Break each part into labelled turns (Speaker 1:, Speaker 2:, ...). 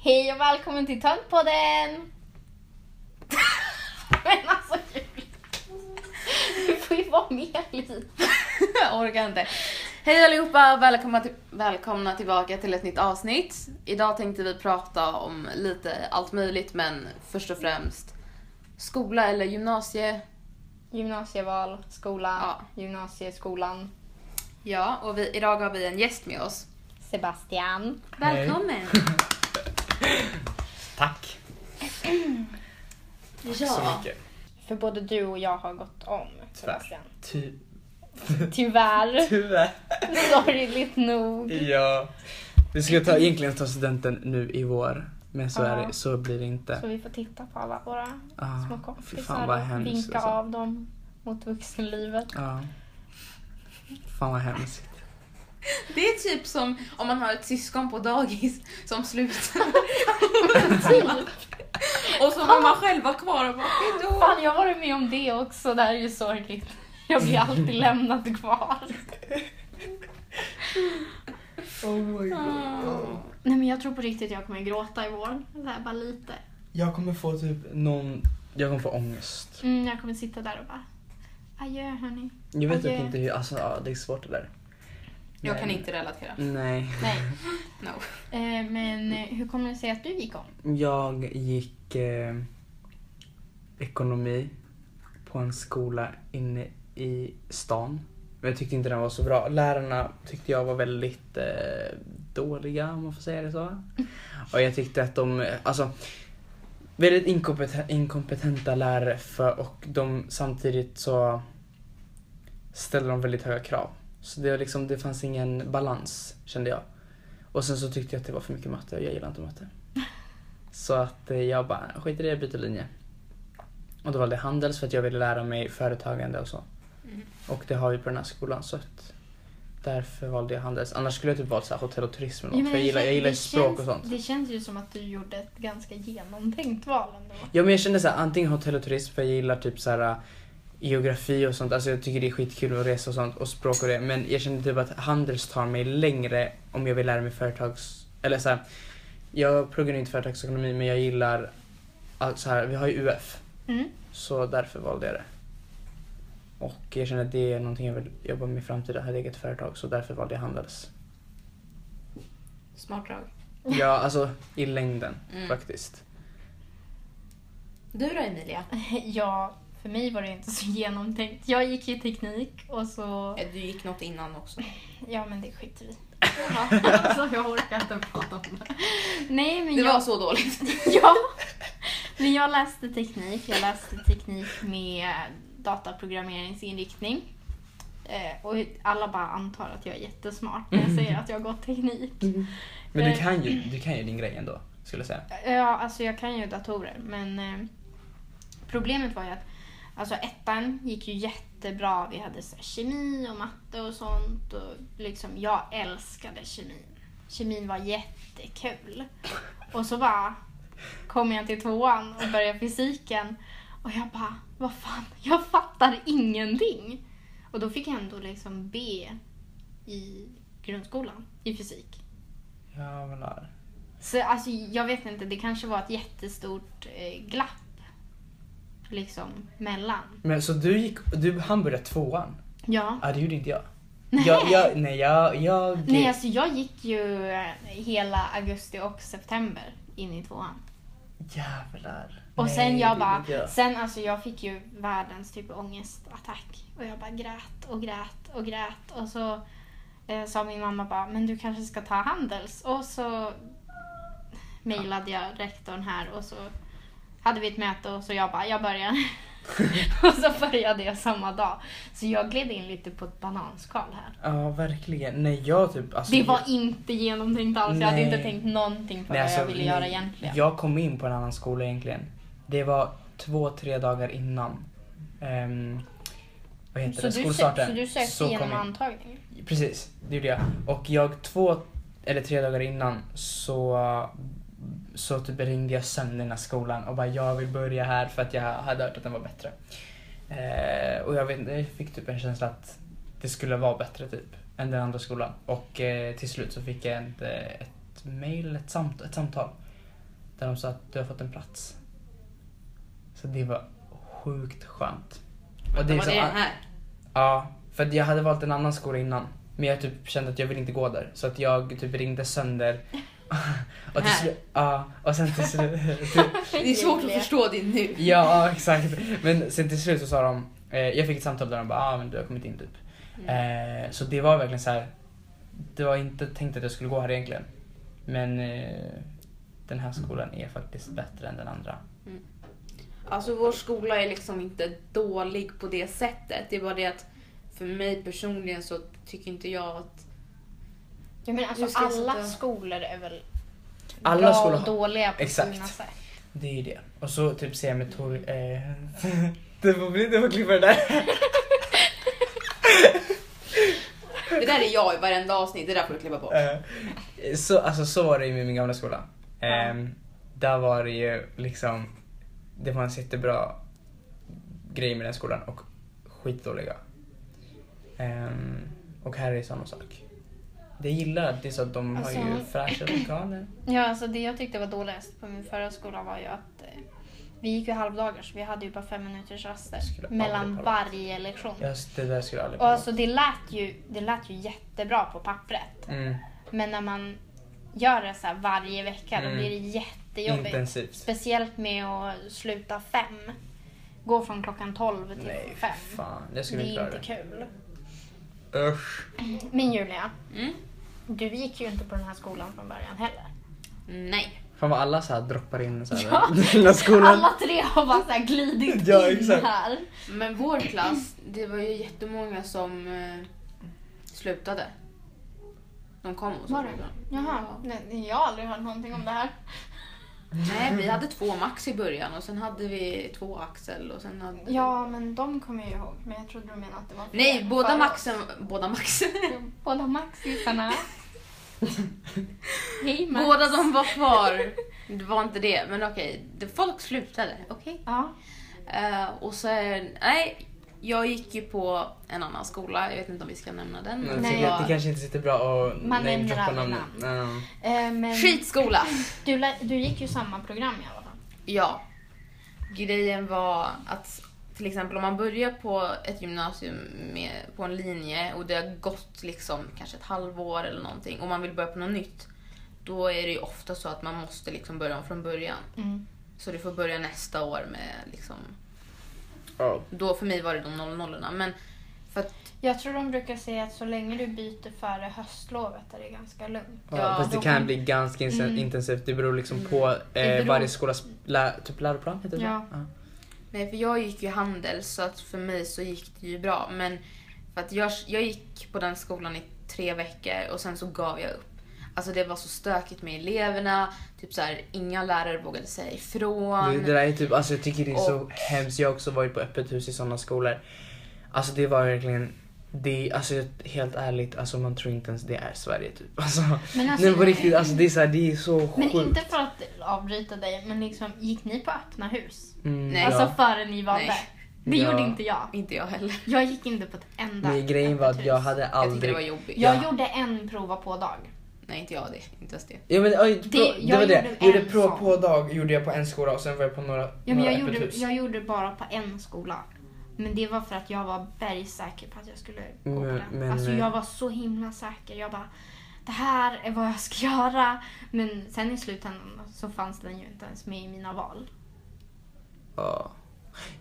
Speaker 1: Hej och välkommen till Töntpodden! Men alltså Julia, du får ju vara med lite.
Speaker 2: Jag orkar inte. Hej allihopa! Välkomna, till, välkomna tillbaka till ett nytt avsnitt. Idag tänkte vi prata om lite allt möjligt men först och främst skola eller gymnasie.
Speaker 1: Gymnasieval, skola,
Speaker 2: Ja.
Speaker 1: gymnasieskolan,
Speaker 2: Ja, och vi, idag har vi en gäst med oss.
Speaker 1: Sebastian.
Speaker 3: Hej.
Speaker 2: Välkommen!
Speaker 3: Tack så
Speaker 2: Ja.
Speaker 3: mycket.
Speaker 1: För både du och jag har gått om Sebastian.
Speaker 3: Tyvärr. Ty-
Speaker 1: Tyvärr,
Speaker 3: Tyvärr.
Speaker 1: sorgligt nog.
Speaker 3: Ja. Vi ska ta, egentligen ta studenten nu i vår. Men så, är
Speaker 1: Ja.
Speaker 3: det, så blir det
Speaker 1: Så
Speaker 3: inte.
Speaker 1: vi får titta på alla våra
Speaker 3: Ah,
Speaker 1: små
Speaker 3: fy fan
Speaker 1: kompisar
Speaker 3: vad
Speaker 1: och
Speaker 3: hemskt.
Speaker 1: vinka
Speaker 3: alltså.
Speaker 1: av dem mot vuxenlivet.
Speaker 3: Ja. Fan vad hemskt.
Speaker 2: Det är typ som om man har ett syskon på dagis som slutar och så har man själva kvar och bara hejdå.
Speaker 1: Fan, jag har varit med om det också. Det här är ju sorgligt. Jag blir alltid lämnad kvar.
Speaker 3: Oh my
Speaker 2: Ah.
Speaker 1: Nej men jag tror på riktigt jag kommer gråta i vår. Så här, bara lite.
Speaker 3: Jag kommer få typ någon... Jag kommer få ångest.
Speaker 1: Mm, jag kommer sitta där och bara adjö hörni.
Speaker 3: Jag vet typ
Speaker 1: Okej.
Speaker 3: inte hur... Alltså ja, det är svårt det där.
Speaker 2: Jag
Speaker 3: Men-
Speaker 2: kan inte relatera.
Speaker 3: Nej.
Speaker 1: Nej.
Speaker 2: No.
Speaker 1: Eh, men eh, hur kommer det sig att du gick om?
Speaker 3: Jag gick eh, ekonomi på en skola inne i stan. Men jag tyckte inte den var så bra. Lärarna tyckte jag var väldigt eh, dåliga om man får säga det så. Och jag tyckte att de, eh, alltså väldigt inkompeten, inkompetenta lärare för, och de samtidigt så ställde de väldigt höga krav. Så det, var liksom, det fanns ingen balans kände jag. Och sen så tyckte jag att det var för mycket matte och jag gillar inte matte. Så att eh, jag bara, skit i det, jag byter linje. Och då valde jag Handels för att jag ville lära mig företagande och så.
Speaker 2: Mm.
Speaker 3: Och det har vi på den här skolan så att därför valde jag Handels. Annars skulle jag typ valt så här hotell och turism eller något, för jag gillar, jag gillar språk och sånt.
Speaker 1: Det känns ju som att du gjorde ett ganska genomtänkt val ändå.
Speaker 3: Ja men jag kände så här, antingen hotell och turism för jag gillar typ så här geografi och sånt. Alltså jag tycker det är skitkul att resa och sånt och språk och det. Men jag kände typ att Handels tar mig längre om jag vill lära mig företags... Eller så här, jag pluggar ju inte företagsekonomi men jag gillar allt så här, vi har ju UF.
Speaker 1: Mm.
Speaker 3: Så därför valde jag det. Och jag kände att det är någonting jag vill jobba med i framtiden, ha ett eget företag. Så därför valde jag Handels.
Speaker 2: Smart drag.
Speaker 3: Ja, alltså i längden
Speaker 2: Mm.
Speaker 3: faktiskt.
Speaker 2: Du då Emilia?
Speaker 1: Ja, för mig var det inte så genomtänkt. Jag gick ju teknik och så...
Speaker 2: Du gick något innan också.
Speaker 1: Ja men det skiter vi i.
Speaker 2: Jaha.
Speaker 1: alltså, Jag orkar inte prata om det. Nej men
Speaker 2: Det
Speaker 1: jag...
Speaker 2: var så dåligt.
Speaker 1: Ja. Men jag läste teknik. Jag läste teknik med dataprogrammeringsinriktning. Eh, och alla bara antar att jag är jättesmart när jag säger att jag har gått teknik.
Speaker 3: Men
Speaker 1: Eh.
Speaker 3: du kan, ju, du kan ju din grej ändå, skulle jag säga.
Speaker 1: Ja, alltså jag kan ju datorer men eh, problemet var ju att alltså ettan gick ju jättebra. Vi hade så här, kemi och matte och sånt och liksom jag älskade kemin. Kemin var jättekul. Och så bara kom jag till tvåan och började fysiken och jag bara, vad fan, jag fattar ingenting. Och då fick jag ändå liksom B i grundskolan i fysik.
Speaker 3: Jävlar.
Speaker 1: Så alltså, jag vet inte, det kanske var ett jättestort eh, glapp. Liksom mellan.
Speaker 3: Men så du gick, du, han började tvåan?
Speaker 1: Ja.
Speaker 3: Ja det gjorde inte jag.
Speaker 1: Nej.
Speaker 3: Jag, jag, nej jag, jag,
Speaker 1: Nej, alltså jag gick ju eh, hela augusti och september in i tvåan.
Speaker 3: jävlar.
Speaker 1: Och
Speaker 3: nej,
Speaker 1: sen
Speaker 3: det
Speaker 1: jag bara,
Speaker 3: gjorde jag.
Speaker 1: sen alltså jag fick ju världens typ ångestattack. Och jag bara grät och grät och grät. Och så eh, sa min mamma bara, men du kanske ska ta Handels. Och så mejlade jag rektorn här och så hade vi ett möte och så jag bara, jag börjar. och så började jag samma dag. Så jag gled in lite på ett bananskal här.
Speaker 3: Ja verkligen. Nej jag typ, alltså.
Speaker 1: Det var inte genomtänkt alls. Jag hade
Speaker 3: Nej.
Speaker 1: inte tänkt någonting på
Speaker 3: nej,
Speaker 1: vad jag
Speaker 3: alltså,
Speaker 1: ville
Speaker 3: nej.
Speaker 1: göra egentligen.
Speaker 3: Jag kom in på en annan skola egentligen. Det var två, tre dagar innan. ehm, vad heter
Speaker 1: Så du, sö-
Speaker 3: det? Skolstarten.
Speaker 1: så du sökte
Speaker 3: Så kom
Speaker 1: genom
Speaker 3: jag in.
Speaker 1: antagningen?
Speaker 3: Precis, det gjorde jag. Och jag två eller tre dagar innan så, så typ ringde jag sömn den här skolan och bara jag vill börja här för att jag hade hört att den var bättre. Eh, och jag, vet, inte, jag fick typ en känsla att det skulle vara bättre typ än den andra skolan. Och eh, till slut så fick jag ett, eh, ett mail, ett, samt, ett samtal Där de sa att du har fått en plats. Så det var sjukt skönt.
Speaker 4: Och det är,
Speaker 3: så-
Speaker 4: det den här?
Speaker 3: Ja, för att jag hade valt en annan skola innan. Men jag typ kände att jag ville inte gå där. Så att jag typ ringde sönder. och, till
Speaker 4: Här?
Speaker 3: slu- ja, och sen till slut... till-
Speaker 4: Det är svårt att förstå det nu.
Speaker 3: ja, exakt. Men sen till slut så sa de... Eh, jag fick ett samtal där de bara ah, men du har kommit in typ. Eh, så det var verkligen så här. Det var inte tänkt att jag skulle gå här egentligen. Men eh, den här skolan är faktiskt bättre än den andra.
Speaker 2: Alltså vår skola är liksom inte dålig på det sättet. Det är bara det att för mig personligen så tycker inte jag att...
Speaker 1: Ja, men alltså,
Speaker 2: Jag ska
Speaker 1: alla
Speaker 2: sätta-
Speaker 1: skolor är väl
Speaker 3: Alla
Speaker 1: bra
Speaker 3: skolor
Speaker 1: och
Speaker 3: har-
Speaker 1: dåliga på
Speaker 3: Exakt.
Speaker 1: sina sätt.
Speaker 3: Det är ju det. Och så typ ser jag med Tor... Eh, du får bli- du får klippa det där.
Speaker 2: Det där är jag i varenda avsnitt, det där får du klippa bort.
Speaker 3: Eh, så, alltså, så var det ju med min gamla skola. Ehm, Där var det ju liksom, det fanns jättebra grejer med den skolan och skitdåliga. Ehm, och här är samma sak. Det jag gillar att det är så att de har ju
Speaker 1: Alltså-
Speaker 3: fräscha lokaler.
Speaker 1: Ja, alltså det jag tyckte var dåligast på min förra skola var ju att eh, vi gick ju halvdagar så vi hade ju bara fem minuters raster
Speaker 3: Jag skulle aldrig
Speaker 1: mellan
Speaker 3: palla det.
Speaker 1: varje lektion.
Speaker 3: Jag, det där skulle jag aldrig
Speaker 1: Och
Speaker 3: komma
Speaker 1: alltså det lät, ju, det lät ju jättebra på pappret.
Speaker 3: ihåg. mm,
Speaker 1: Men när man gör det så här varje vecka
Speaker 3: Mm.
Speaker 1: då blir det jättejobbigt.
Speaker 3: Intensivt.
Speaker 1: Speciellt med att sluta fem. Gå från klockan tolv till
Speaker 3: Nej,
Speaker 1: Typ fem.
Speaker 3: fan. Jag
Speaker 1: Det
Speaker 3: skulle inte
Speaker 1: är
Speaker 3: klara
Speaker 1: inte
Speaker 3: det.
Speaker 1: kul.
Speaker 3: Usch.
Speaker 1: Men Julia,
Speaker 2: Mm.
Speaker 1: du gick ju inte på den här skolan från början heller.
Speaker 2: Nej.
Speaker 3: Fan vad alla så här droppar in så här,
Speaker 1: Ja.
Speaker 3: den här skolan.
Speaker 1: Alla tre har bara så här glidit
Speaker 3: Ja,
Speaker 1: in
Speaker 3: exakt.
Speaker 1: här.
Speaker 2: Men vår klass, det var ju jättemånga som eh, slutade. De kom och så.
Speaker 1: Var det? Jaha, nej, jag har aldrig hört någonting om det här.
Speaker 2: Nej, vi hade två max i början och sen hade vi två Axel och sen hade
Speaker 1: Ja, men de kommer jag ju ihåg. Men jag trodde du menade att det var
Speaker 2: Nej,
Speaker 1: fler
Speaker 2: båda
Speaker 1: för
Speaker 2: maxen... Båda max.
Speaker 1: oss. Båda maxisarna. Hej Max.
Speaker 2: båda de var kvar. Det var inte det, men okej. det- Folk slutade, okej.
Speaker 1: Ja.
Speaker 2: Eh, och sen... Nej, jag gick ju på en annan skola. Jag vet inte om vi ska nämna den.
Speaker 3: Nej,
Speaker 2: men
Speaker 1: Nej.
Speaker 3: det-
Speaker 2: det var-
Speaker 3: Det kanske inte sitter bra och
Speaker 1: Man ändrar namn.
Speaker 3: Mm.
Speaker 1: Eh, men
Speaker 2: Skitskola!
Speaker 1: du, lä- du gick ju samma program i alla fall.
Speaker 2: Ja. Grejen var att till exempel om man börjar på ett gymnasium med, på en linje och det har gått liksom kanske ett halvår eller någonting och man vill börja på något nytt. Då är det ju ofta så att man måste liksom börja om från början.
Speaker 1: Mm.
Speaker 2: Så du får börja nästa år med liksom...
Speaker 3: Ja.
Speaker 2: Då för mig var det de 00 men för att
Speaker 1: Jag tror de brukar säga att så länge du byter före höstlovet är det ganska lugnt.
Speaker 3: Ja,
Speaker 2: Ja,
Speaker 3: fast det
Speaker 1: då
Speaker 3: kan
Speaker 1: kan-
Speaker 3: bli ganska inse-
Speaker 1: Mm.
Speaker 3: intensivt. Det beror liksom på eh,
Speaker 1: beror-
Speaker 3: varje skolas lä- typ läroplan. Heter det så?
Speaker 1: Ja.
Speaker 2: Nej, för jag gick ju handel så att för mig så gick det ju bra. Men för att jag, jag gick på den skolan i tre veckor och sen så gav jag upp. Alltså det var så stökigt med eleverna, typ så här, inga lärare vågade säga
Speaker 3: Ja. Det,
Speaker 2: ifrån.
Speaker 3: det där är typ, alltså, jag tycker det är så
Speaker 2: Och-
Speaker 3: hemskt. Jag har också varit på öppet hus i sådana skolor. Alltså det var verkligen, det, alltså jag- helt ärligt, alltså man tror inte ens det är Sverige typ. Alltså,
Speaker 1: Men alltså-
Speaker 3: nej, på riktigt, alltså det är så, här, det är så
Speaker 1: Men
Speaker 3: sjukt.
Speaker 1: inte för att avbryta dig, men liksom, gick ni på öppna hus?
Speaker 3: Mm,
Speaker 2: Nej.
Speaker 3: ja.
Speaker 1: Alltså före ni var
Speaker 2: Nej.
Speaker 1: där? Det
Speaker 3: Ja.
Speaker 1: gjorde inte jag.
Speaker 2: Inte jag heller.
Speaker 1: Jag gick inte på ett enda
Speaker 3: Men grejen var att
Speaker 1: öppet
Speaker 3: jag
Speaker 1: hus.
Speaker 3: hade
Speaker 2: Jag tyckte det
Speaker 3: aldrig...
Speaker 2: var jobbigt.
Speaker 1: Jag gjorde en prova på dag.
Speaker 2: Nej, inte jag det. Inte ens det.
Speaker 3: Ja men oj,
Speaker 1: Det-
Speaker 3: det, det
Speaker 1: jag
Speaker 3: var det.
Speaker 1: gjorde
Speaker 3: Jag gjorde
Speaker 1: en
Speaker 3: prov
Speaker 1: sån.
Speaker 3: på dag gjorde jag på en skola och sen var jag på några,
Speaker 1: Ja, men
Speaker 3: några
Speaker 1: jag,
Speaker 3: öppet
Speaker 1: gjorde,
Speaker 3: hus.
Speaker 1: jag gjorde bara på en skola. Men det var för att jag var bergsäker på att jag skulle gå på
Speaker 3: Men-
Speaker 1: den.
Speaker 3: men-
Speaker 1: alltså jag var så himla säker. Jag bara, det här är vad jag ska göra. Men sen i slutändan så fanns den ju inte ens med i mina val.
Speaker 3: Ja.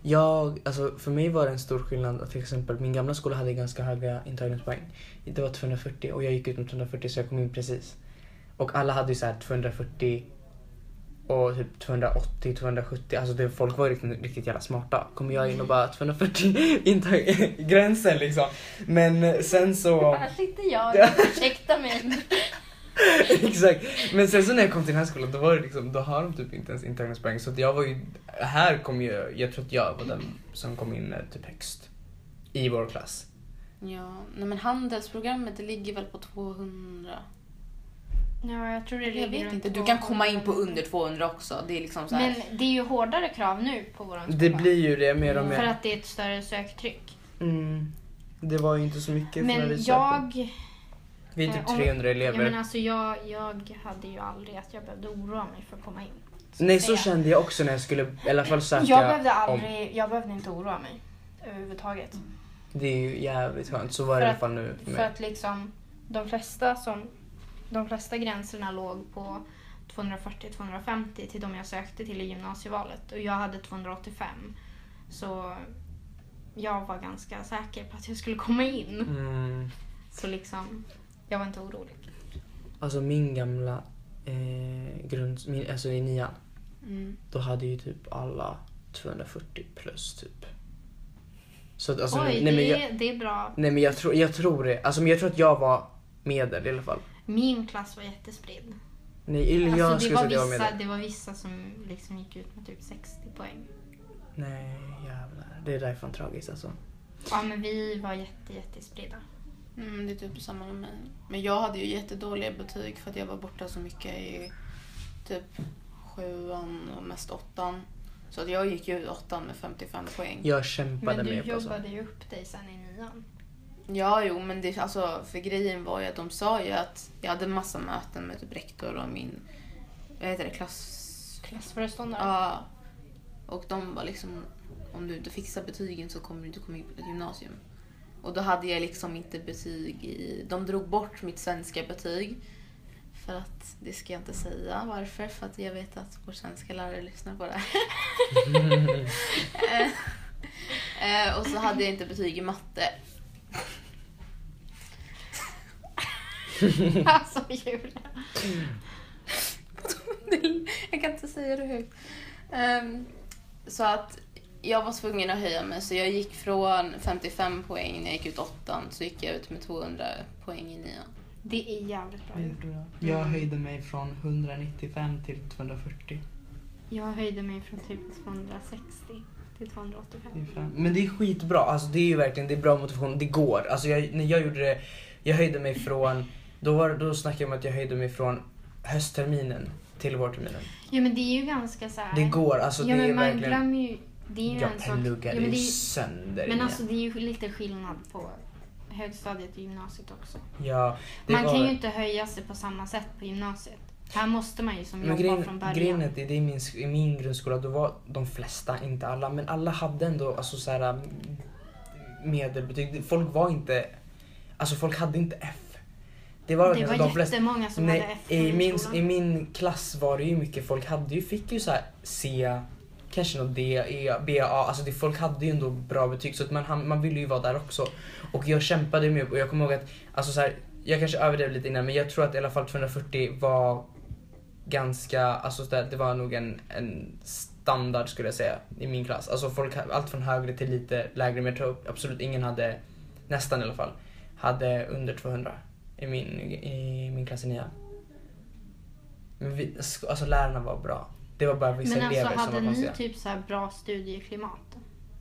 Speaker 3: Jag, alltså för mig var det en stor skillnad att till exempel min gamla skola hade ganska höga intagningspoäng. Det var 240 och jag gick ut med 240 så jag kom in precis. Och alla hade ju så här 240 och typ 280, 270. Alltså det, folk var riktigt, riktigt jävla smarta. Kommer jag in och bara 240 intag- gränsen liksom. Men sen så...
Speaker 1: Här sitter jag.
Speaker 3: Ja.
Speaker 1: Ursäkta mig.
Speaker 3: Exakt. Men sen så när jag kom till den här skolan då var det liksom, då har de typ inte ens intagningspoäng. Så att jag var ju, här kom ju, jag tror att jag var den som kom in eh, typ högst. I vår klass.
Speaker 2: Ja, nej men handelsprogrammet det ligger väl på 200.
Speaker 1: Ja, jag tror det
Speaker 2: Jag
Speaker 1: ligger
Speaker 2: vet
Speaker 1: runt
Speaker 2: inte, du kan komma in på
Speaker 1: 200.
Speaker 2: under 200 också. Det är liksom så här.
Speaker 1: Men det är ju hårdare krav nu på våran skola.
Speaker 3: Det blir ju det mer och
Speaker 1: Mm. För
Speaker 3: mer.
Speaker 1: att det är ett större söktryck.
Speaker 3: Mm. Det var ju inte så mycket när vi
Speaker 1: Men
Speaker 3: sökte.
Speaker 1: jag...
Speaker 3: Vi är
Speaker 1: eh,
Speaker 3: typ
Speaker 1: om-
Speaker 3: 300
Speaker 1: Ja, men
Speaker 3: elever.
Speaker 1: alltså jag, jag hade ju aldrig att jag behövde oroa mig för att komma in.
Speaker 3: Nej så
Speaker 1: Ja.
Speaker 3: kände jag också när jag skulle i alla fall söka
Speaker 1: Jag behövde,
Speaker 3: om.
Speaker 1: aldrig, jag behövde inte oroa mig överhuvudtaget.
Speaker 3: Det är ju jävligt skönt. Så
Speaker 1: För
Speaker 3: var det i alla
Speaker 1: att-
Speaker 3: fall nu för
Speaker 1: För
Speaker 3: mig.
Speaker 1: att liksom de flesta, som, de flesta gränserna låg på 240-250 till de jag sökte till i gymnasievalet och jag hade 285. Så jag var ganska säker på att jag skulle komma in.
Speaker 3: Mm.
Speaker 1: Så liksom, jag var inte orolig.
Speaker 3: Alltså min gamla eh, grund, min, alltså i nian,
Speaker 5: Mm.
Speaker 3: då hade ju typ alla 240 plus typ. Så att alltså,
Speaker 1: Oj,
Speaker 3: nej, men
Speaker 1: det,
Speaker 3: jag,
Speaker 1: det är bra.
Speaker 3: nej men jag tror, jag tror det. Alltså men jag tror att jag var medel i alla fall.
Speaker 1: Min klass var jättespridd.
Speaker 3: Nej, eller jag
Speaker 1: Alltså, det,
Speaker 3: skulle
Speaker 1: var
Speaker 3: säga att jag var
Speaker 1: vissa,
Speaker 3: medel.
Speaker 1: det var vissa som liksom gick ut med typ 60 poäng.
Speaker 3: Nej jävlar. Det är därifrån tragiskt alltså.
Speaker 1: Ja men vi var jätte, jättespridda.
Speaker 5: Mm, det är typ samma med mig.
Speaker 2: Men jag hade ju jättedåliga betyg för att jag var borta så mycket i typ sjuan och mest åttan. Så att jag gick ju ut åttan med 55 poäng.
Speaker 3: Jag kämpade
Speaker 1: Men du
Speaker 3: med på alltså.
Speaker 1: jobbade ju upp dig sen i nian.
Speaker 2: Ja, jo, men det, alltså, för grejen var ju att de sa ju att jag hade massa möten med typ rektor och min, vad heter det, klass...
Speaker 1: Klassföreståndare.
Speaker 2: Ja. Och de var liksom, om du inte fixar betygen så kommer du inte komma in på ett gymnasium. Och då hade jag liksom inte betyg i... De drog bort mitt svenska betyg. För att, det ska jag inte säga varför, för att jag vet att vår svenska lärare lyssnar på det här. Eh, eh, och så hade jag inte betyg i matte.
Speaker 1: alltså Julia.
Speaker 2: jag kan inte säga det högt. Ehm, så att jag var tvungen att höja mig så jag gick från 55 poäng när jag gick ut åttan så gick jag ut med 200 poäng i nian.
Speaker 1: Det är jävligt bra gjort.
Speaker 3: Jag höjde mig från 195 till 240.
Speaker 1: Jag höjde mig från typ 260 till 285.
Speaker 3: Men det är skitbra. Alltså det är ju verkligen det är bra motivation. Det går. Alltså jag, när jag gjorde det, jag höjde mig från, då, var, då snackade jag om att jag höjde mig från höstterminen till vårterminen.
Speaker 1: Ja men det är ju ganska så här.
Speaker 3: Det går. Alltså
Speaker 1: ja
Speaker 3: det är
Speaker 1: men man
Speaker 3: verkligen.
Speaker 1: glömmer ju. Det är ju en
Speaker 3: Jag
Speaker 1: sak. Ja,
Speaker 3: pluggade
Speaker 1: men
Speaker 3: ju
Speaker 1: det är,
Speaker 3: sönder
Speaker 1: men
Speaker 3: igen.
Speaker 1: alltså det är ju lite skillnad på högstadiet och gymnasiet också.
Speaker 3: Ja, det
Speaker 1: Man
Speaker 3: var,
Speaker 1: kan ju inte höja sig på samma sätt på gymnasiet. Här måste man ju som
Speaker 3: men
Speaker 1: jobba
Speaker 3: grejen,
Speaker 1: från början.
Speaker 3: grejen är att i min, sk- i min grundskola då var de flesta, inte alla, men alla hade ändå alltså, så här, medelbetyg. Folk var inte, alltså folk hade inte F. Det var,
Speaker 1: det
Speaker 3: verkligen så
Speaker 1: var
Speaker 3: att de flesta,
Speaker 1: jättemånga som hade
Speaker 3: Nej,
Speaker 1: F
Speaker 3: i min,
Speaker 1: skolan.
Speaker 3: i min klass var det ju mycket folk hade ju, fick ju så här C, kanske något D, E, B, A. Alltså det, folk hade ju ändå bra betyg så att man, ham- man ville ju vara där också. Och jag kämpade med och jag kommer ihåg att, alltså så här, jag kanske överdrev lite innan men jag tror att i alla fall 240 var ganska, alltså så där, det var nog en, en standard skulle jag säga i min klass. Alltså folk, ha- allt från högre till lite lägre men jag tror absolut ingen hade, nästan i alla fall, hade under 200 i min, i min klass i nian. Men vi, sk- alltså lärarna var bra. Det var bara vissa
Speaker 1: Men
Speaker 3: elever
Speaker 1: alltså
Speaker 3: som var
Speaker 1: hade ni
Speaker 3: konstiga.
Speaker 1: typ så här bra studieklimat?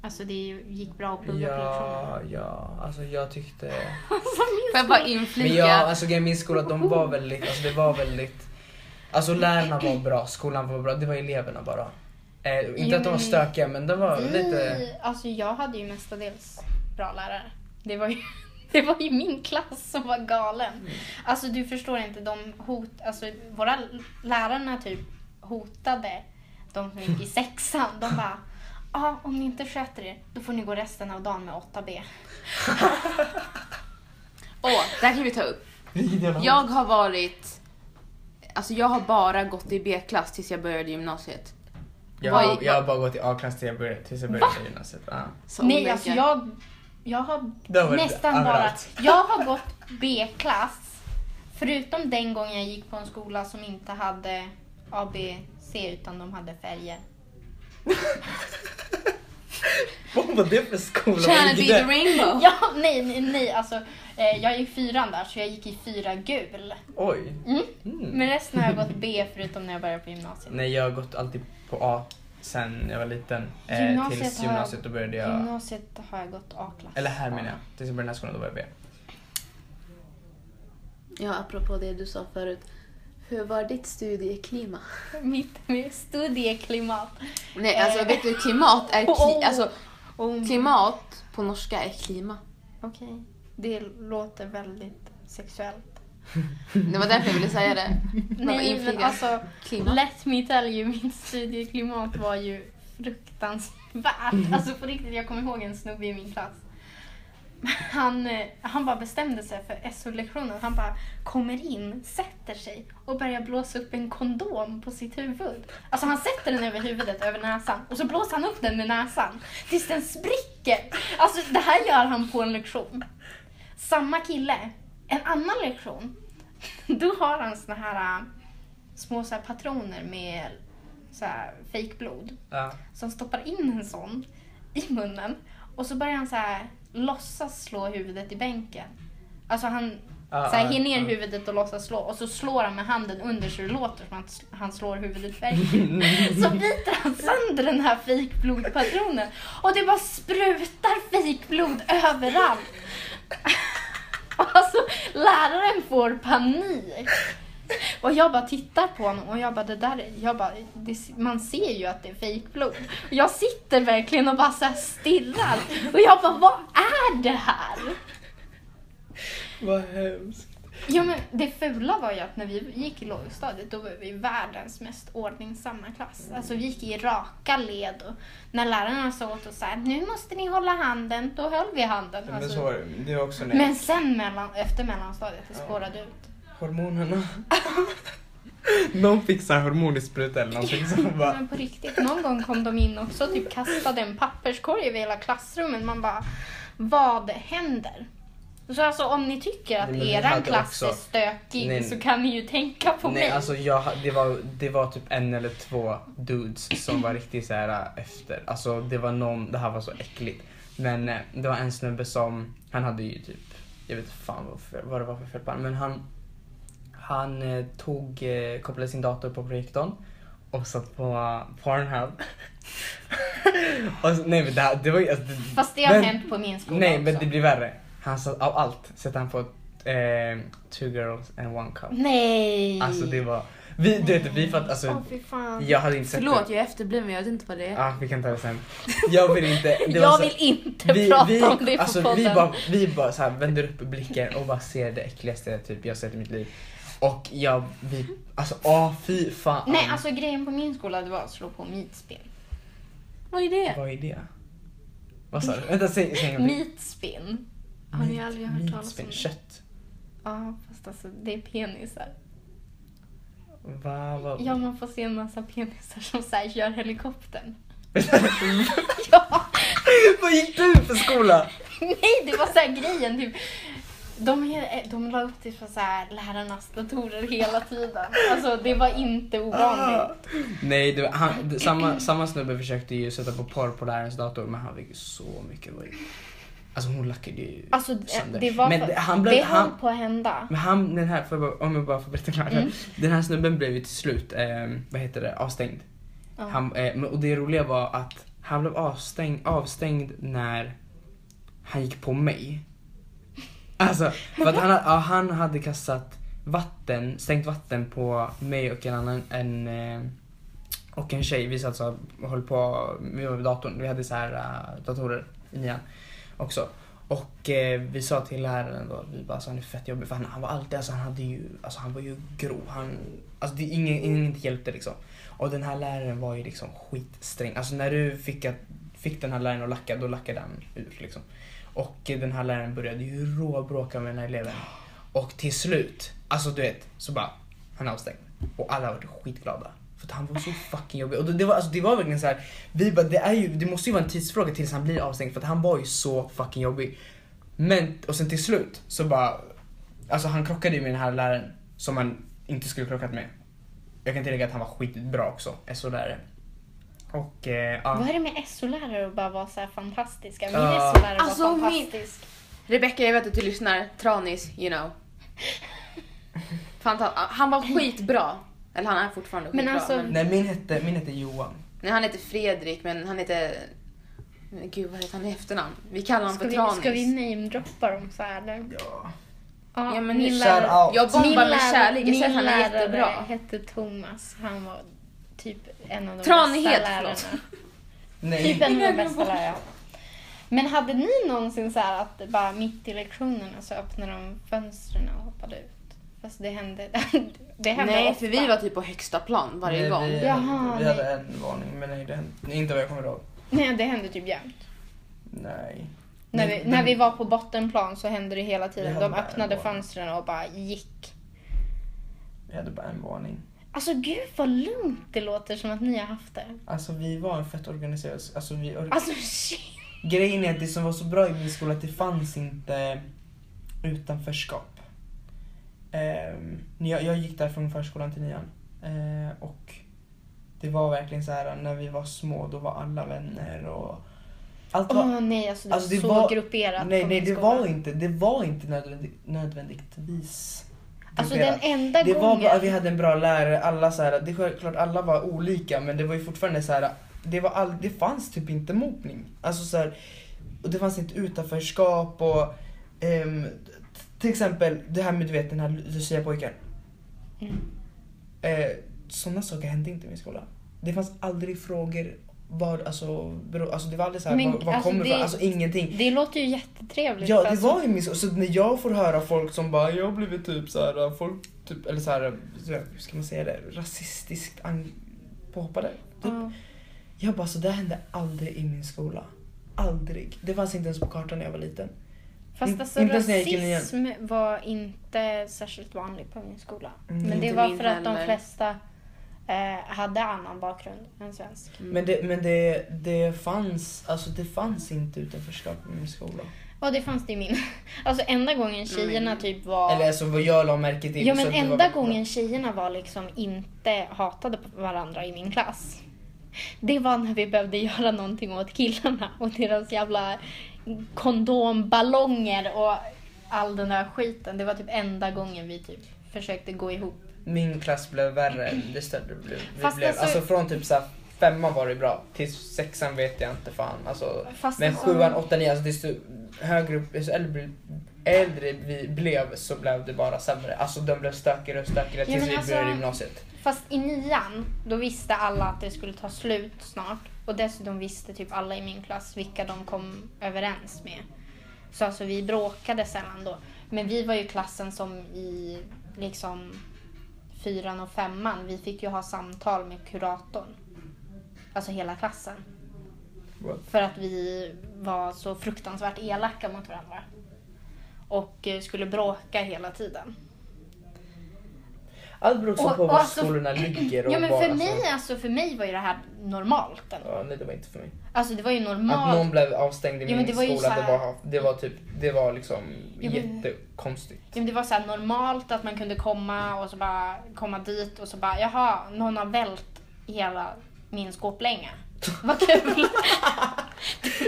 Speaker 1: Alltså det gick bra att plugga på lektionerna?
Speaker 3: Ja, ja, alltså jag tyckte...
Speaker 1: Alltså,
Speaker 2: Får jag bara
Speaker 3: Men
Speaker 2: inflika?
Speaker 3: ja, alltså grejen min skola, de var väldigt, alltså det var väldigt... Alltså lärarna var bra, skolan var bra, det var eleverna bara. Eh, inte
Speaker 1: Jo,
Speaker 3: att de var
Speaker 1: men-
Speaker 3: stökiga men de var
Speaker 1: min-
Speaker 3: lite...
Speaker 1: Vi, alltså jag hade ju mestadels bra lärare. Det var ju, det var ju min klass som var galen.
Speaker 3: Mm.
Speaker 1: Alltså du förstår inte, de hot, alltså våra lärarna typ hotade de som gick i sexan. De bara, ah, om ni inte sköter er, då får ni gå resten av dagen med 8B.
Speaker 5: Åh, det här kan vi ta upp. Jag har varit... Alltså jag har bara gått i B-klass tills jag började gymnasiet.
Speaker 3: Jag,
Speaker 5: Vad-
Speaker 3: har- jag har bara gått i A-klass tills jag började, tills jag började i gymnasiet. Ja.
Speaker 5: Så
Speaker 1: Nej,
Speaker 5: olika.
Speaker 1: alltså jag, jag har
Speaker 3: Det har varit
Speaker 1: nästan bara...
Speaker 3: överallt.
Speaker 1: Jag har gått B-klass. Förutom den gången jag gick på en skola som inte hade A, B, C utan de hade färger.
Speaker 3: Vad var det för skola?
Speaker 2: Can it
Speaker 3: Vilket
Speaker 2: be the
Speaker 3: är-
Speaker 2: rainbow?
Speaker 1: Ja, nej, nej, nej. Alltså, eh, jag gick fyran där så jag gick i fyra gul.
Speaker 3: Oj.
Speaker 1: Mm.
Speaker 3: Mm.
Speaker 1: Men resten har jag gått B förutom när jag började på gymnasiet.
Speaker 3: Nej, jag har gått alltid på A sen jag var liten. Eh,
Speaker 1: Gymnasiet
Speaker 3: tills
Speaker 1: har jag-
Speaker 3: gymnasiet, då började jag...
Speaker 1: Gymnasiet har jag gått A-klass.
Speaker 3: Eller här menar jag. Tills jag började den här skolan, då var jag B.
Speaker 2: Ja, apropå det du sa förut. Hur var ditt studieklimat?
Speaker 1: Mitt mitt studieklimat.
Speaker 2: Nej, alltså vet du, klimat är... Kli-
Speaker 1: Oh.
Speaker 2: alltså,
Speaker 1: Och-
Speaker 2: klimat på norska är klima.
Speaker 1: Okej. Det låter väldigt sexuellt.
Speaker 2: Det var därför jag ville säga det. Bara
Speaker 1: Nej, men
Speaker 2: inflika.
Speaker 1: alltså,
Speaker 2: Klimat.
Speaker 1: let me tell you, mitt studieklimat var ju fruktansvärt. Alltså på riktigt, jag kommer ihåg en snubbe i min klass. Han, eh, han bara bestämde sig för SO-lektionen. Han bara kommer in, sätter sig och börjar blåsa upp en kondom på sitt huvud. Alltså han sätter den över huvudet, över näsan och så blåser han upp den med näsan tills den spricker. Alltså det här gör han på en lektion. Samma kille, en annan lektion, då har han såna här äh, små så här patroner med så här fake blod.
Speaker 3: Ja.
Speaker 1: Så han stoppar in en sån i munnen och så börjar han så här låtsas slå huvudet i bänken. Alltså han
Speaker 3: Ja,
Speaker 1: så här,
Speaker 3: ja,
Speaker 1: ger ner
Speaker 3: ja.
Speaker 1: huvudet och låtsas slå och så slår han med handen under så det låter som att han slår huvudet i bänken. så biter han sönder den här fejkblodpatronen och det bara sprutar fejkblod överallt. Alltså läraren får panik. Och jag bara tittar på honom och jag bara, det där, är- jag bara, det, man ser ju att det är fejkblod. Och jag sitter verkligen och bara så här stirrar. Och jag bara, vad är det här?
Speaker 3: Vad hemskt.
Speaker 1: Jo men det fula var ju att när vi gick i lågstadiet då var vi världens mest ordningsamma klass. Alltså vi gick i raka led och när lärarna sa åt oss så här, nu måste ni hålla handen, då höll vi handen.
Speaker 3: Men
Speaker 1: Alltså,
Speaker 3: så var det. Det var också när
Speaker 1: men sen mellan, efter mellanstadiet det spårade ut.
Speaker 3: hormonerna. Någon fick så här hormonspruta eller någonting som
Speaker 1: Ja,
Speaker 3: bara...
Speaker 1: Men på riktigt, någon gång kom de in också och typ kastade en papperskorg över hela klassrummet. Man bara, vad händer? Så alltså om ni tycker att
Speaker 3: Nej, men vi
Speaker 1: eran
Speaker 3: hade
Speaker 1: klass är
Speaker 3: också-
Speaker 1: stökig
Speaker 3: Nej.
Speaker 1: så kan ni ju tänka på
Speaker 3: Nej
Speaker 1: mig.
Speaker 3: alltså jag, det, var, det var typ en eller två dudes som var riktigt så här äh, efter. Alltså det var någon, det här var så äckligt. Men eh, det var en snubbe som, han hade ju typ, jag vet fan vad, för, vad det var för fel på han, men han Han eh, tog, eh, kopplade sin dator på projektorn och satt på eh, Pornhub. och, så- nej men det, här, det var ju... Alltså, det,
Speaker 1: Fast det har
Speaker 3: men-
Speaker 1: hänt på min skola
Speaker 3: Nej
Speaker 1: också.
Speaker 3: men det blir värre. Han satt, av allt satte han på eh, two girls and one cup.
Speaker 1: Nej!
Speaker 3: Alltså det var... Vi, du vet, vi fatt,
Speaker 1: Åh
Speaker 3: alltså,
Speaker 1: fy fan.
Speaker 3: jag hade inte sett
Speaker 2: Förlåt,
Speaker 3: det.
Speaker 2: jag är efterbliven men jag vet inte vad det är.
Speaker 3: Ah, vi kan ta det sen. Jag vill inte... det var
Speaker 1: jag
Speaker 3: så-
Speaker 1: vill inte prata om det
Speaker 3: alltså,
Speaker 1: på podden.
Speaker 3: Vi bara, vi bara så här, vänder upp blicken och bara ser det äckligaste typ, jag sett i mitt liv. Och jag, vi, alltså åh fy fan.
Speaker 1: Nej alltså grejen på min skola det var att slå på meatspin.
Speaker 2: Vad är det?
Speaker 3: Vad är det? Vad sa du? Vänta, säg, säg en gång till.
Speaker 1: Meatspin. Har ni aldrig hört talas om
Speaker 3: Meatspin,
Speaker 1: det?
Speaker 3: Kött.
Speaker 1: Ja fast alltså det är penisar.
Speaker 3: Va, va?
Speaker 1: Ja, man får se en massa penisar som så här kör helikoptern. ja,
Speaker 3: Vad gick du för skola?
Speaker 1: nej, det var så här grejen typ. De, he- de la upp det på så här lärarnas datorer hela tiden. Alltså det var inte
Speaker 3: Ah.
Speaker 1: ovanligt.
Speaker 3: Nej, det var, han, det, samma, samma snubbe försökte ju sätta på porr på lärarens dator men han fick ju så mycket våld. Alltså hon lackade ju
Speaker 1: Alltså det,
Speaker 3: sönder.
Speaker 1: det var
Speaker 3: men
Speaker 1: för,
Speaker 3: det- han blev,
Speaker 1: det
Speaker 3: han,
Speaker 1: höll på att hända.
Speaker 3: Men han, den här, får jag bara, om jag bara får berätta klart.
Speaker 1: Mm.
Speaker 3: Den här snubben blev ju till slut, eh, vad heter det, avstängd.
Speaker 1: Ja.
Speaker 3: Han, eh, men- och det roliga var att han blev avstängd, avstängd när han gick på mig. Alltså, för att han, ha- ja, han hade kastat vatten, stängt vatten på mig och en annan, en, eh, och en tjej. Vi satt så här och höll på, vi var vid datorn, vi hade så här eh, datorer i nian också. Och eh, vi sa till läraren då, vi bara alltså, han är fett jobbig för han, han var alltid, alltså han hade ju, alltså han var ju grov. Han, alltså det, ingen, ingen hjälpte liksom. Och den här läraren var ju liksom skitsträng. Alltså när du fick, att, fick den här läraren att lacka, då lackade han ur liksom. Och eh, den här läraren började ju råbråka med den här eleven. Och till slut, alltså du vet, så bara, han är avstängd. Och alla var skitglada. För att han var så fucking jobbig. Och det, det, var, alltså, det var verkligen så här, vi bara, det, är ju, det måste ju vara en tidsfråga tills han blir avstängd för att han var ju så fucking jobbig. Men, och sen till slut så bara, alltså han krockade ju med den här läraren som han inte skulle krockat med. Jag kan tillägga att han var skitbra också, SO-lärare. Och eh,
Speaker 1: Vad
Speaker 3: ja.
Speaker 1: är det med SO-lärare och bara vara så här fantastiska? Min
Speaker 3: Ja.
Speaker 1: SO-lärare var
Speaker 2: Alltså, min-
Speaker 1: fantastisk.
Speaker 2: Rebecca, jag vet att du lyssnar. Tranis, you know. Fanta- han var skitbra. Eller han är fortfarande
Speaker 1: Men
Speaker 2: skitbra. Men
Speaker 1: alltså-
Speaker 2: men,
Speaker 3: Nej min hette, min hette Johan.
Speaker 2: nej, han heter Fredrik, men han heter... men Gud, vad heter han i efternamn? Vi kallar honom
Speaker 1: Ska
Speaker 2: för
Speaker 1: vi,
Speaker 2: Tranis.
Speaker 1: ska vi namedroppa dem så här? Eller?
Speaker 3: Ja.
Speaker 1: Ja,
Speaker 2: Ja, men
Speaker 1: min
Speaker 2: shout
Speaker 1: lärare,
Speaker 3: out.
Speaker 2: Jag
Speaker 1: Min
Speaker 2: bombar med
Speaker 1: lärare-
Speaker 2: kärlek. Jag
Speaker 1: min
Speaker 2: säger att han är
Speaker 1: lärare
Speaker 2: jättebra.
Speaker 1: hette Thomas. Han var typ en av de
Speaker 2: Tranighet,
Speaker 1: bästa lärarna.
Speaker 2: förlåt.
Speaker 3: Nej.
Speaker 1: Typ en av de
Speaker 2: Inga
Speaker 1: bästa
Speaker 2: glömmer.
Speaker 1: lärarna. Men hade ni någonsin så här att bara mitt i lektionerna så öppnade de fönstren och hoppade ut? Fast det hände, det hände
Speaker 2: Nej,
Speaker 1: ofta.
Speaker 2: för vi var typ på högsta plan varje
Speaker 3: Nej,
Speaker 2: gång.
Speaker 3: Vi, hade
Speaker 1: Jaha,
Speaker 3: inte- vi hade
Speaker 1: nej.
Speaker 3: en varning men nej, det hände inte vad jag kommer ihåg.
Speaker 1: Nej, det hände typ jämt.
Speaker 3: Nej.
Speaker 1: När vi,
Speaker 3: Men-
Speaker 1: när vi var på bottenplan så hände det hela tiden.
Speaker 3: Det
Speaker 1: De
Speaker 3: hände
Speaker 1: öppnade
Speaker 3: ändå.
Speaker 1: fönstren och bara gick.
Speaker 3: Vi hade bara en varning.
Speaker 1: Alltså gud vad lugnt det låter som att ni har haft det.
Speaker 3: Alltså vi var en fett organiserad... Alltså, vi or-
Speaker 1: Alltså shit.
Speaker 3: Grejen är att det som var så bra i min skola att det fanns inte utanförskap. Ehm, när jag, jag gick där från förskolan till nian. Eh, och det var verkligen så här när vi var små då var alla vänner och... Allt var...
Speaker 1: Åh nej, alltså det
Speaker 3: Alltså,
Speaker 1: är
Speaker 3: det
Speaker 1: så
Speaker 3: var-
Speaker 1: grupperat
Speaker 3: nej,
Speaker 1: på
Speaker 3: nej
Speaker 1: min
Speaker 3: det
Speaker 1: skola.
Speaker 3: var inte, det var inte nödvändigt, nödvändigtvis
Speaker 1: Alltså
Speaker 3: grupperat.
Speaker 1: den enda
Speaker 3: Det var
Speaker 1: gången.
Speaker 3: bara, vi hade en bra lärare, alla så här, det är självklart alla var olika men det var ju fortfarande så här, det, var all, det fanns typ inte mobbning. Alltså så här, och det fanns inte utanförskap och ehm, t- till exempel det här med du vet den här Lucia-pojken.
Speaker 1: Mm.
Speaker 3: Eh, Sådana saker hände inte i min skola. Det fanns aldrig frågor, vad, alltså, bero, alltså det var aldrig så här,
Speaker 1: Men,
Speaker 3: vad, vad
Speaker 1: alltså,
Speaker 3: kommer det
Speaker 1: det-
Speaker 3: från? Alltså ingenting.
Speaker 1: Det låter ju jättetrevligt.
Speaker 3: Ja, det
Speaker 1: alltså.
Speaker 3: var ju min så. Så när jag får höra folk som bara, jag har blivit typ så här, folk, typ, eller så här, så här, hur ska man säga det, rasistiskt an- påhoppade. Typ.
Speaker 1: Ja.
Speaker 3: Jag bara, så det hände aldrig i min skola. Aldrig. Det fanns inte ens på kartan när jag var liten.
Speaker 1: Fast
Speaker 3: In-
Speaker 1: alltså
Speaker 3: inte ens när jag gick in igen.
Speaker 1: rasism var inte särskilt vanligt på min skola.
Speaker 3: Mm.
Speaker 1: Men det
Speaker 2: Inte
Speaker 1: var
Speaker 2: min
Speaker 1: för att de
Speaker 2: heller.
Speaker 1: flesta eh, hade annan bakgrund än svensk.
Speaker 3: Men, det, men det, det fanns, alltså det fanns inte utanförskap i min skola.
Speaker 1: Ja, det fanns det i min. Alltså enda gången tjejerna
Speaker 2: Mm.
Speaker 1: typ var...
Speaker 3: Eller alltså vad jag la märke till.
Speaker 1: ja,
Speaker 3: så
Speaker 1: men
Speaker 3: att det var
Speaker 1: enda
Speaker 3: väldigt bra.
Speaker 1: gången tjejerna var liksom inte hatade på varandra i min klass. Det var när vi behövde göra någonting åt killarna och deras jävla kondomballonger och all den där skiten. Det var typ enda gången vi typ försökte gå ihop.
Speaker 3: Min klass blev värre än det större blev. Vi
Speaker 1: Fast
Speaker 3: blev.
Speaker 1: alltså-
Speaker 3: Alltså, från typ såhär femman var det bra, till sexan vet jag inte fan. Alltså,
Speaker 1: Fast
Speaker 3: men
Speaker 1: alltså-
Speaker 3: sjuan, åttan, nian, alltså desto högre upp, desto äldre, äldre vi blev så blev det bara sämre. Alltså de blev stökigare och stökigare
Speaker 1: Ja,
Speaker 3: tills
Speaker 1: men
Speaker 3: vi
Speaker 1: alltså-
Speaker 3: började gymnasiet.
Speaker 1: Fast i nian, då visste alla att det skulle ta slut snart. Och dessutom visste typ alla i min klass vilka de kom överens med. Så alltså vi bråkade sällan då. Men vi var ju klassen som i liksom fyran och femman, vi fick ju ha samtal med kuratorn. Alltså hela klassen.
Speaker 3: What?
Speaker 1: För att vi var så fruktansvärt elaka mot varandra. Och eh, skulle bråka hela tiden.
Speaker 3: Allt beror också
Speaker 1: Och-
Speaker 3: på
Speaker 1: och
Speaker 3: var
Speaker 1: alltså-
Speaker 3: skolorna ligger och
Speaker 1: Ja men
Speaker 3: var,
Speaker 1: för
Speaker 3: alltså-
Speaker 1: mig, alltså, för mig var ju det här normalt ändå.
Speaker 3: Ja, nej det var inte för mig.
Speaker 1: Alltså det var ju
Speaker 3: Att någon
Speaker 1: normalt.
Speaker 3: blev avstängd i
Speaker 1: Ja, men
Speaker 3: min
Speaker 1: det var ju
Speaker 3: skola,
Speaker 1: så
Speaker 3: det,
Speaker 1: här-
Speaker 3: var, det var typ, det var liksom
Speaker 1: Ja, men-
Speaker 3: jättekonstigt.
Speaker 1: Ja, men det var så här normalt att man kunde komma och så bara komma dit och så bara jaha, någon har vält hela min skåplänga. Vad kul!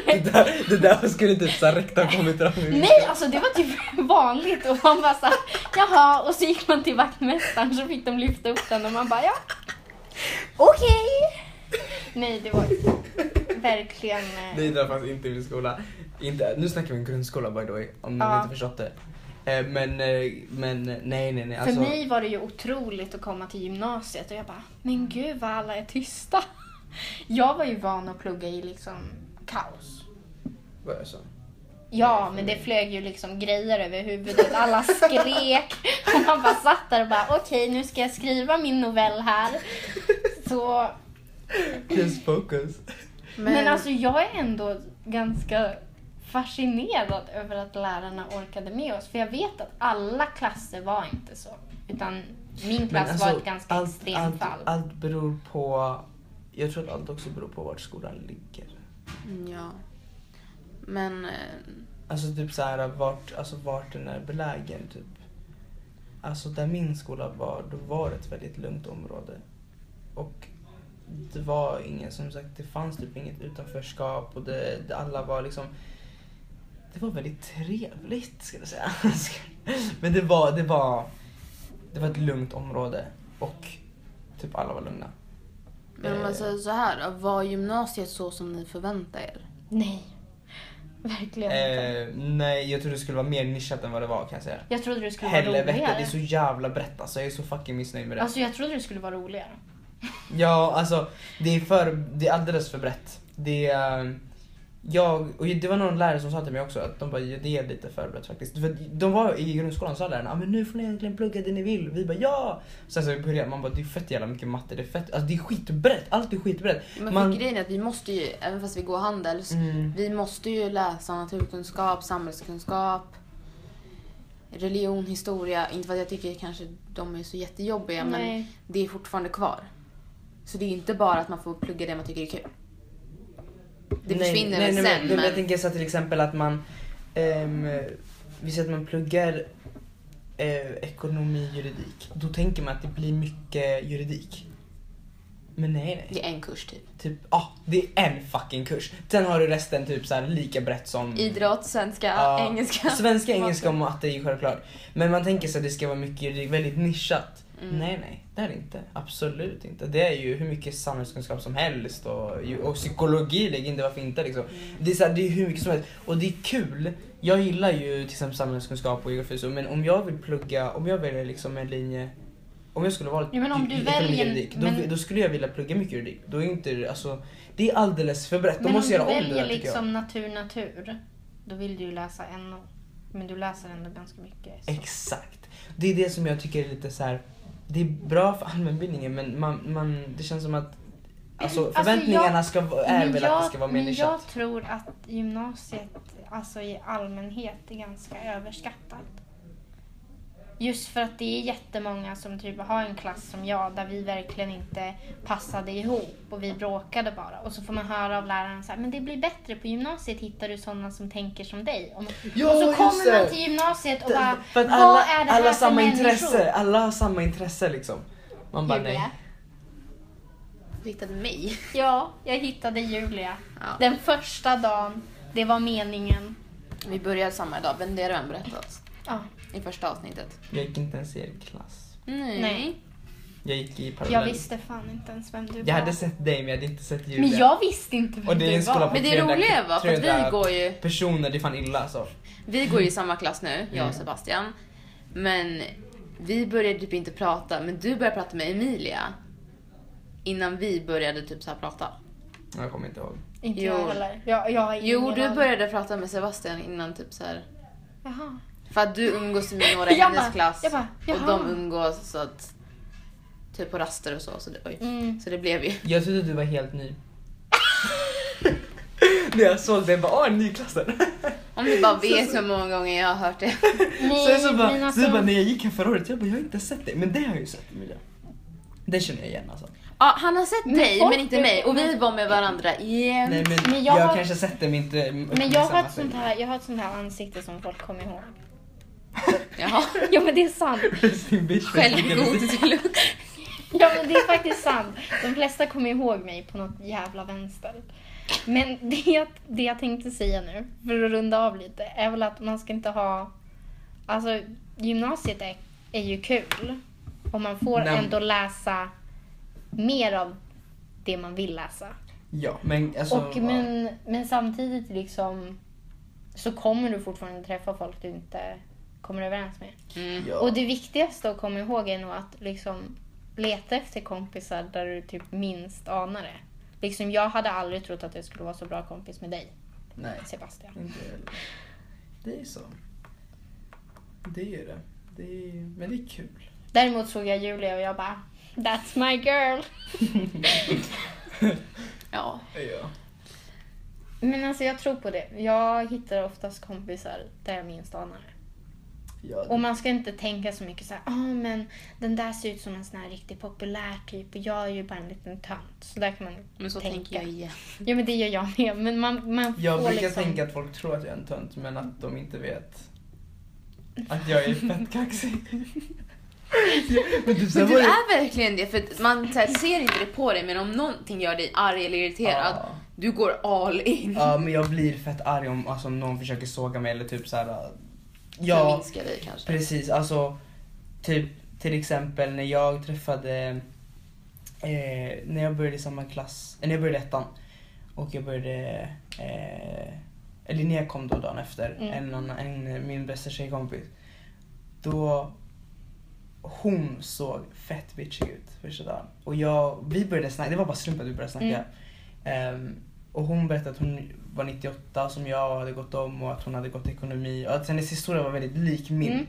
Speaker 3: Det där, det där skulle typ såhär rektorn kommit fram i min
Speaker 1: Nej, alltså det var typ vanligt och man bara så här, jaha och så gick man till vaktmästaren så fick de lyfta upp den och man bara ja, okej. Nej, det var verkligen... eh,
Speaker 3: Nej det där fanns inte i min skola. Inte, nu snackar vi om grundskola by the way, om
Speaker 1: Ja.
Speaker 3: någon inte förstått det. Eh, Men, eh, men eh, nej nej nej. Alltså,
Speaker 1: För mig var det ju otroligt att komma till gymnasiet och jag bara, men gud vad alla är tysta. Jag var ju van att plugga i liksom kaos.
Speaker 3: Vad jag sa.
Speaker 1: Ja, men det flög ju liksom grejer över huvudet. Alla skrek och man bara satt där och bara, okej nu ska jag skriva min novell här. Så,
Speaker 3: Just focus.
Speaker 1: men... alltså jag är ändå ganska fascinerad över att lärarna orkade med oss. För jag vet att alla klasser var inte så. Utan min klass var ett ganska extremt
Speaker 3: alltså, allt,
Speaker 1: fall.
Speaker 3: allt beror på, jag tror att allt också beror på vart skolan ligger.
Speaker 2: Mm, Ja. Men eh,
Speaker 3: Alltså typ såhär vart, alltså vart den är belägen typ. Alltså där min skola var, då var det ett väldigt lugnt område. Och det var ingen, som sagt det fanns typ inget utanförskap och det, det alla var liksom Det var väldigt trevligt ska jag säga. Men det var, det var Det var ett lugnt område och typ alla var lugna.
Speaker 2: Men om
Speaker 3: Eh.
Speaker 2: man säger så här, var gymnasiet så som ni förväntar er?
Speaker 1: Nej, verkligen inte.
Speaker 3: Eh, nej jag tror det skulle vara mer nischat än vad det var kan jag säga.
Speaker 1: Jag trodde det skulle vara
Speaker 3: Helvete,
Speaker 1: roligare.
Speaker 3: det är så jävla brett alltså. Jag är så fucking missnöjd med det.
Speaker 1: Alltså jag trodde det skulle vara roligare.
Speaker 3: Ja, alltså det är, för, det är alldeles för brett. Det är, eh, Jag, och det var någon lärare som sa till mig också att de bara, "Ja, det är lite förberett faktiskt. För de var i grundskolan sa lärarna, ah, men nu får ni egentligen plugga det ni vill. Vi bara ja! Sen så började man bara, det är fett jävla mycket matte, det är fett, alltså det är skitbrett, allt är skitbrett.
Speaker 2: Men för
Speaker 3: Man-
Speaker 2: grejen är att vi måste ju, även fast vi går handels,
Speaker 3: Mm.
Speaker 2: vi måste ju läsa naturkunskap, samhällskunskap, religion, historia. Inte för att jag tycker kanske de är så jättejobbiga men
Speaker 1: Nej.
Speaker 2: det är fortfarande kvar. Så det är ju inte bara att man får plugga det man tycker är kul. Det försvinner väl
Speaker 3: nej, nej,
Speaker 2: sen,
Speaker 3: men, men... Jag
Speaker 2: men-
Speaker 3: tänker så här till exempel att man, ehm, vi säger att man pluggar eh, ekonomi, juridik. Då tänker man att det blir mycket juridik. Men nej nej.
Speaker 2: Det är en kurs typ.
Speaker 3: Typ, ja ah, det är en fucking kurs. Sen har du resten typ så här lika brett som...
Speaker 2: Idrott, svenska,
Speaker 3: Mm. Ja.
Speaker 2: engelska.
Speaker 3: Svenska, engelska och matte är ju självklart. Men man tänker sig att det ska vara mycket juridik, väldigt nischat.
Speaker 1: Mm.
Speaker 3: Nej, nej, det är det inte. Absolut inte. Det är ju hur mycket samhällskunskap som helst och, ju- och psykologi, lägg in det varför inte liksom.
Speaker 1: Mm.
Speaker 3: Det är, så här, det är hur mycket som helst och det är kul. Jag gillar ju till exempel samhällskunskap och geografi så, men om jag vill plugga, om jag väljer liksom en linje om jag skulle vara
Speaker 1: Ja, men om du
Speaker 3: i- i
Speaker 1: väljer-
Speaker 3: ekonomi och juridik, då,
Speaker 1: men-
Speaker 3: då skulle jag vilja plugga mycket juridik. Då är inte det- alltså, det är alldeles för brett. Då
Speaker 1: Men om
Speaker 3: måste
Speaker 1: du
Speaker 3: jag göra om det
Speaker 1: väljer
Speaker 3: där, tycker jag.
Speaker 1: liksom natur, natur, då vill du ju läsa NO. Men du läser ändå ganska mycket. Så.
Speaker 3: Exakt. Det är det som jag tycker är lite så här. Det är bra för allmänbildningen men man, man, det känns som att alltså,
Speaker 1: Alltså,
Speaker 3: förväntningarna
Speaker 1: jag-
Speaker 3: ska, va- är väl att det ska vara mer
Speaker 1: men jag
Speaker 3: nischat.
Speaker 1: tror att gymnasiet alltså i allmänhet är ganska överskattat. Just för att det är jättemånga som typ har en klass som jag där vi verkligen inte passade ihop och vi bråkade bara. Och så får man höra av läraren så här, men det blir bättre på gymnasiet hittar du sådana som tänker som dig. Om-
Speaker 3: Ja,
Speaker 1: och så
Speaker 3: just
Speaker 1: kommer man
Speaker 3: det.
Speaker 1: till gymnasiet och bara,
Speaker 3: För att
Speaker 1: vad
Speaker 3: alla,
Speaker 1: är det här
Speaker 3: alla
Speaker 1: för
Speaker 3: samma
Speaker 1: människor?
Speaker 3: intresse, alla har samma intresse liksom. Man bara nej.
Speaker 1: Julia.
Speaker 2: Du hittade mig.
Speaker 1: Ja, jag hittade Julia.
Speaker 2: Ja.
Speaker 1: Den första dagen, det var meningen.
Speaker 2: Vi började samma dag, men det har du redan berättat.
Speaker 1: Ja.
Speaker 2: I första avsnittet.
Speaker 3: Jag gick inte ens i er klass.
Speaker 2: Nej.
Speaker 1: Nej.
Speaker 3: Jag gick i
Speaker 1: Jag
Speaker 3: parallell.
Speaker 1: visste fan inte ens vem du var.
Speaker 3: Jag hade sett dig men jag hade inte sett Julia.
Speaker 1: men jag visste inte vem
Speaker 3: Och det är
Speaker 1: du
Speaker 3: en skola
Speaker 1: var.
Speaker 3: på
Speaker 2: Men det
Speaker 3: 300
Speaker 2: roliga var, för att vi
Speaker 3: 300
Speaker 2: går ju...
Speaker 3: Personer, det är fan illa alltså.
Speaker 2: Vi går ju i samma klass nu, jag och Sebastian. Men vi började typ inte prata, men du började prata med Emilia. Innan vi började typ så här prata.
Speaker 3: Jag kommer inte ihåg.
Speaker 1: Inte
Speaker 2: Jo.
Speaker 1: jag heller. Jag, jag har ingen
Speaker 2: Jo, du
Speaker 1: aning.
Speaker 2: började prata med Sebastian innan typ så här.
Speaker 1: Jaha.
Speaker 2: För att du umgås med några i
Speaker 1: Jag
Speaker 2: hennes
Speaker 1: bara-
Speaker 2: klass.
Speaker 1: jag bara,
Speaker 2: och
Speaker 1: jaha.
Speaker 2: de umgås så att... Typ på raster och så. Så det, oj.
Speaker 1: Mm.
Speaker 2: Så det blev ju...
Speaker 3: Jag trodde du var helt ny. När jag såg dig bara åh nyklassen.
Speaker 2: Om du bara vet hur många gånger jag har hört det.
Speaker 1: Nej,
Speaker 3: Sen så bara,
Speaker 1: men
Speaker 3: så
Speaker 1: alltså,
Speaker 3: jag bara när jag gick här förra året, jag bara jag har inte sett dig. Men det har jag ju sett Emilia. Det känner jag igen
Speaker 1: Mm.
Speaker 3: alltså.
Speaker 2: Ja, han har sett
Speaker 1: Men
Speaker 2: dig
Speaker 1: folk-
Speaker 2: men inte mig och vi var med varandra igen.
Speaker 3: Nej men,
Speaker 1: Men jag
Speaker 3: jag,
Speaker 1: har-
Speaker 3: kanske har sett dig men inte
Speaker 1: men jag har,
Speaker 3: uppmärksammat
Speaker 1: ett sånt
Speaker 3: dig.
Speaker 1: här, jag har ett sånt här ansikte som folk kommer ihåg.
Speaker 2: Jaha.
Speaker 1: Ja men det är sant.
Speaker 3: Resting bitch face, vilken-
Speaker 2: Självgod deluxe.
Speaker 1: Ja men det är faktiskt sant. De flesta kommer ihåg mig på något jävla vänster. Men det, det jag tänkte säga nu, för att runda av lite, är väl att man ska inte ha... Alltså gymnasiet är, är ju kul. Och man får
Speaker 3: Nej.
Speaker 1: ändå läsa mer av det man vill läsa.
Speaker 3: Ja men alltså.
Speaker 1: och, men, men samtidigt liksom så kommer du fortfarande träffa folk du inte kommer överens med.
Speaker 2: Mm.
Speaker 3: ja.
Speaker 1: Och det viktigaste att komma ihåg är nog att liksom leta efter kompisar där du typ minst anar det. Liksom jag hade aldrig trott att jag skulle vara så bra kompis med dig,
Speaker 3: Nej,
Speaker 1: Sebastian.
Speaker 3: inte jag heller. Det är så. Det är ju det. det är, men det är kul.
Speaker 1: Däremot såg jag Julia och jag bara That's my girl.
Speaker 2: Ja.
Speaker 3: Ja.
Speaker 1: Men alltså jag tror på det. Jag hittar oftast kompisar där jag minst anar det.
Speaker 3: Ja,
Speaker 1: Och man ska inte tänka så mycket så här, ah men den där ser ut som en sån här riktigt populär typ och jag är ju bara en liten tönt. Så där kan man
Speaker 2: Men så
Speaker 1: tänka.
Speaker 2: tänker jag igen.
Speaker 1: Ja men det gör jag med. Men man, man
Speaker 3: Jag
Speaker 1: får
Speaker 3: brukar
Speaker 1: liksom...
Speaker 3: tänka att folk tror att jag är en tönt men att de inte vet att jag är fett kaxig. men typ, så
Speaker 2: Men
Speaker 3: här
Speaker 2: du
Speaker 3: var det-
Speaker 2: är verkligen det, för att man så här, ser inte det på dig men om någonting gör dig arg eller irriterad,
Speaker 3: Ja.
Speaker 2: du går all in.
Speaker 3: Ja men jag blir fett arg om alltså, om någon försöker såga mig eller typ så här. äh,
Speaker 2: För
Speaker 3: Ja
Speaker 2: minskar dig kanske.
Speaker 3: precis alltså typ till exempel när jag träffade eh, när jag började i samma klass, eh, när jag började i ettan och jag började eh, eller när jag kom då dagen efter
Speaker 1: Mm.
Speaker 3: en, annan, en min bästa tjejkompis då hon såg fett bitchig ut första dagen.
Speaker 1: Mm.
Speaker 3: Och jag, vi började snacka, det var bara slump att vi började snacka. Ehm, och hon berättade att hon var 98 som jag hade gått om och att hon hade gått ekonomi och att hennes historia var väldigt lik min.
Speaker 1: Mm.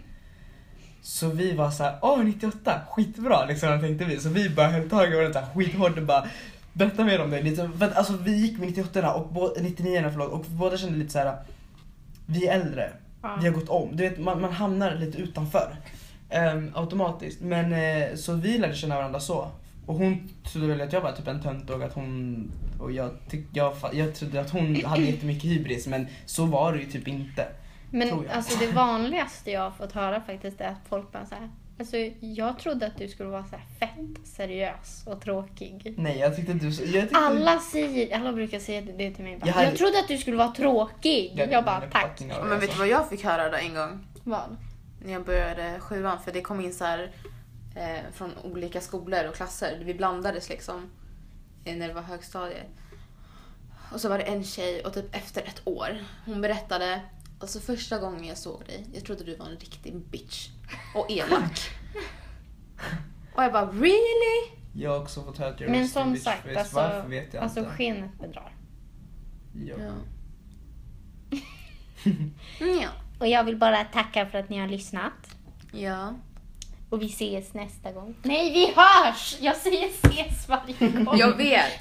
Speaker 3: Så vi var så här, åh 98, skitbra liksom tänkte vi. Så vi bara höll tag i varandra så här skithårt och bara berätta mer om det. Lite, för att, alltså, vi gick med 98 och bå- 99 förlåt och båda kände lite så här, vi är äldre,
Speaker 1: Ja.
Speaker 3: vi har gått om. Du vet man, man hamnar lite utanför ehm, automatiskt. Men eh, så vi lärde känna varandra så. Och hon trodde väl att jag var typ en tönt och att hon och jag, tyck, jag, fa- jag trodde att hon hade jättemycket hybris men så var det ju typ inte. tror
Speaker 1: Men
Speaker 3: jag.
Speaker 1: alltså det vanligaste jag har fått höra faktiskt är att folk bara såhär, alltså jag trodde att du skulle vara såhär fett seriös och tråkig.
Speaker 3: Nej jag tyckte du... Jag tyckte,
Speaker 1: Alla säger, alla brukar säga det till mig. Bara,
Speaker 3: Jag
Speaker 1: jag,
Speaker 3: hade-
Speaker 1: trodde att du skulle vara tråkig. Jag, bara,
Speaker 3: men
Speaker 1: tack.
Speaker 3: fucking
Speaker 2: Men vet du vad jag fick höra då en gång?
Speaker 1: Vad?
Speaker 2: när jag började sjuan för det kom in så här eh, från olika skolor och klasser. Vi blandades liksom eh, när det var högstadiet. Och så var det en tjej och typ efter ett år hon berättade Alltså första gången jag såg dig, jag trodde du var en riktig bitch och elak. och jag bara really?
Speaker 3: Jag har också fått höra att jag är
Speaker 1: Men
Speaker 3: en stor
Speaker 1: som
Speaker 3: bitch
Speaker 1: sagt,
Speaker 3: face.
Speaker 1: alltså,
Speaker 3: Varför vet jag
Speaker 1: alltså
Speaker 3: inte.
Speaker 1: skenet bedrar.
Speaker 3: Ja.
Speaker 2: Ja.
Speaker 1: Och jag vill bara tacka för att ni har lyssnat.
Speaker 2: Ja.
Speaker 1: Och vi ses nästa gång. Nej, vi hörs! Jag säger ses varje gång.
Speaker 2: Jag vet.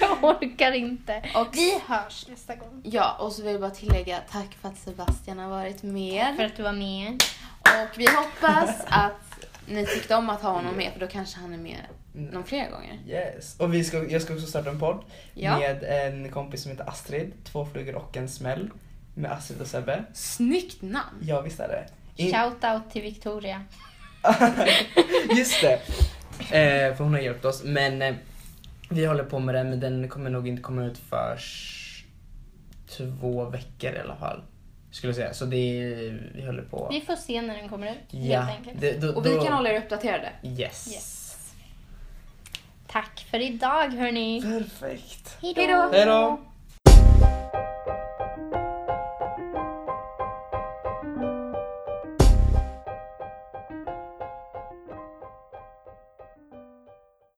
Speaker 1: Jag orkar inte.
Speaker 2: Och-
Speaker 1: Vi hörs nästa gång.
Speaker 2: Ja, och så vill jag bara tillägga tack för att Sebastian har varit med.
Speaker 1: För att du var med.
Speaker 2: Och vi hoppas att ni tyckte om att ha honom med för då kanske han är med någon fler gånger.
Speaker 3: Yes. Och vi ska, jag ska också starta en podd
Speaker 2: Ja.
Speaker 3: med en kompis som heter Astrid. Två flugor och en smäll. Med Astrid och Sebbe.
Speaker 2: Snyggt namn!
Speaker 3: Ja visst är det. In-
Speaker 1: Shout out till Victoria.
Speaker 3: Just det. Eh, för hon har hjälpt oss. Men eh, vi håller på med den men den kommer nog inte komma ut för två veckor i alla fall. Skulle jag säga. Så det är, vi håller på.
Speaker 1: Vi får se när den kommer ut, helt enkelt.
Speaker 3: det- då-
Speaker 2: Och vi
Speaker 3: då-
Speaker 2: kan hålla er uppdaterade.
Speaker 3: Yes.
Speaker 1: Yes. Tack för idag, hörni.
Speaker 3: Perfekt.
Speaker 1: Hej
Speaker 2: Hejdå.
Speaker 1: då!
Speaker 3: Hej då!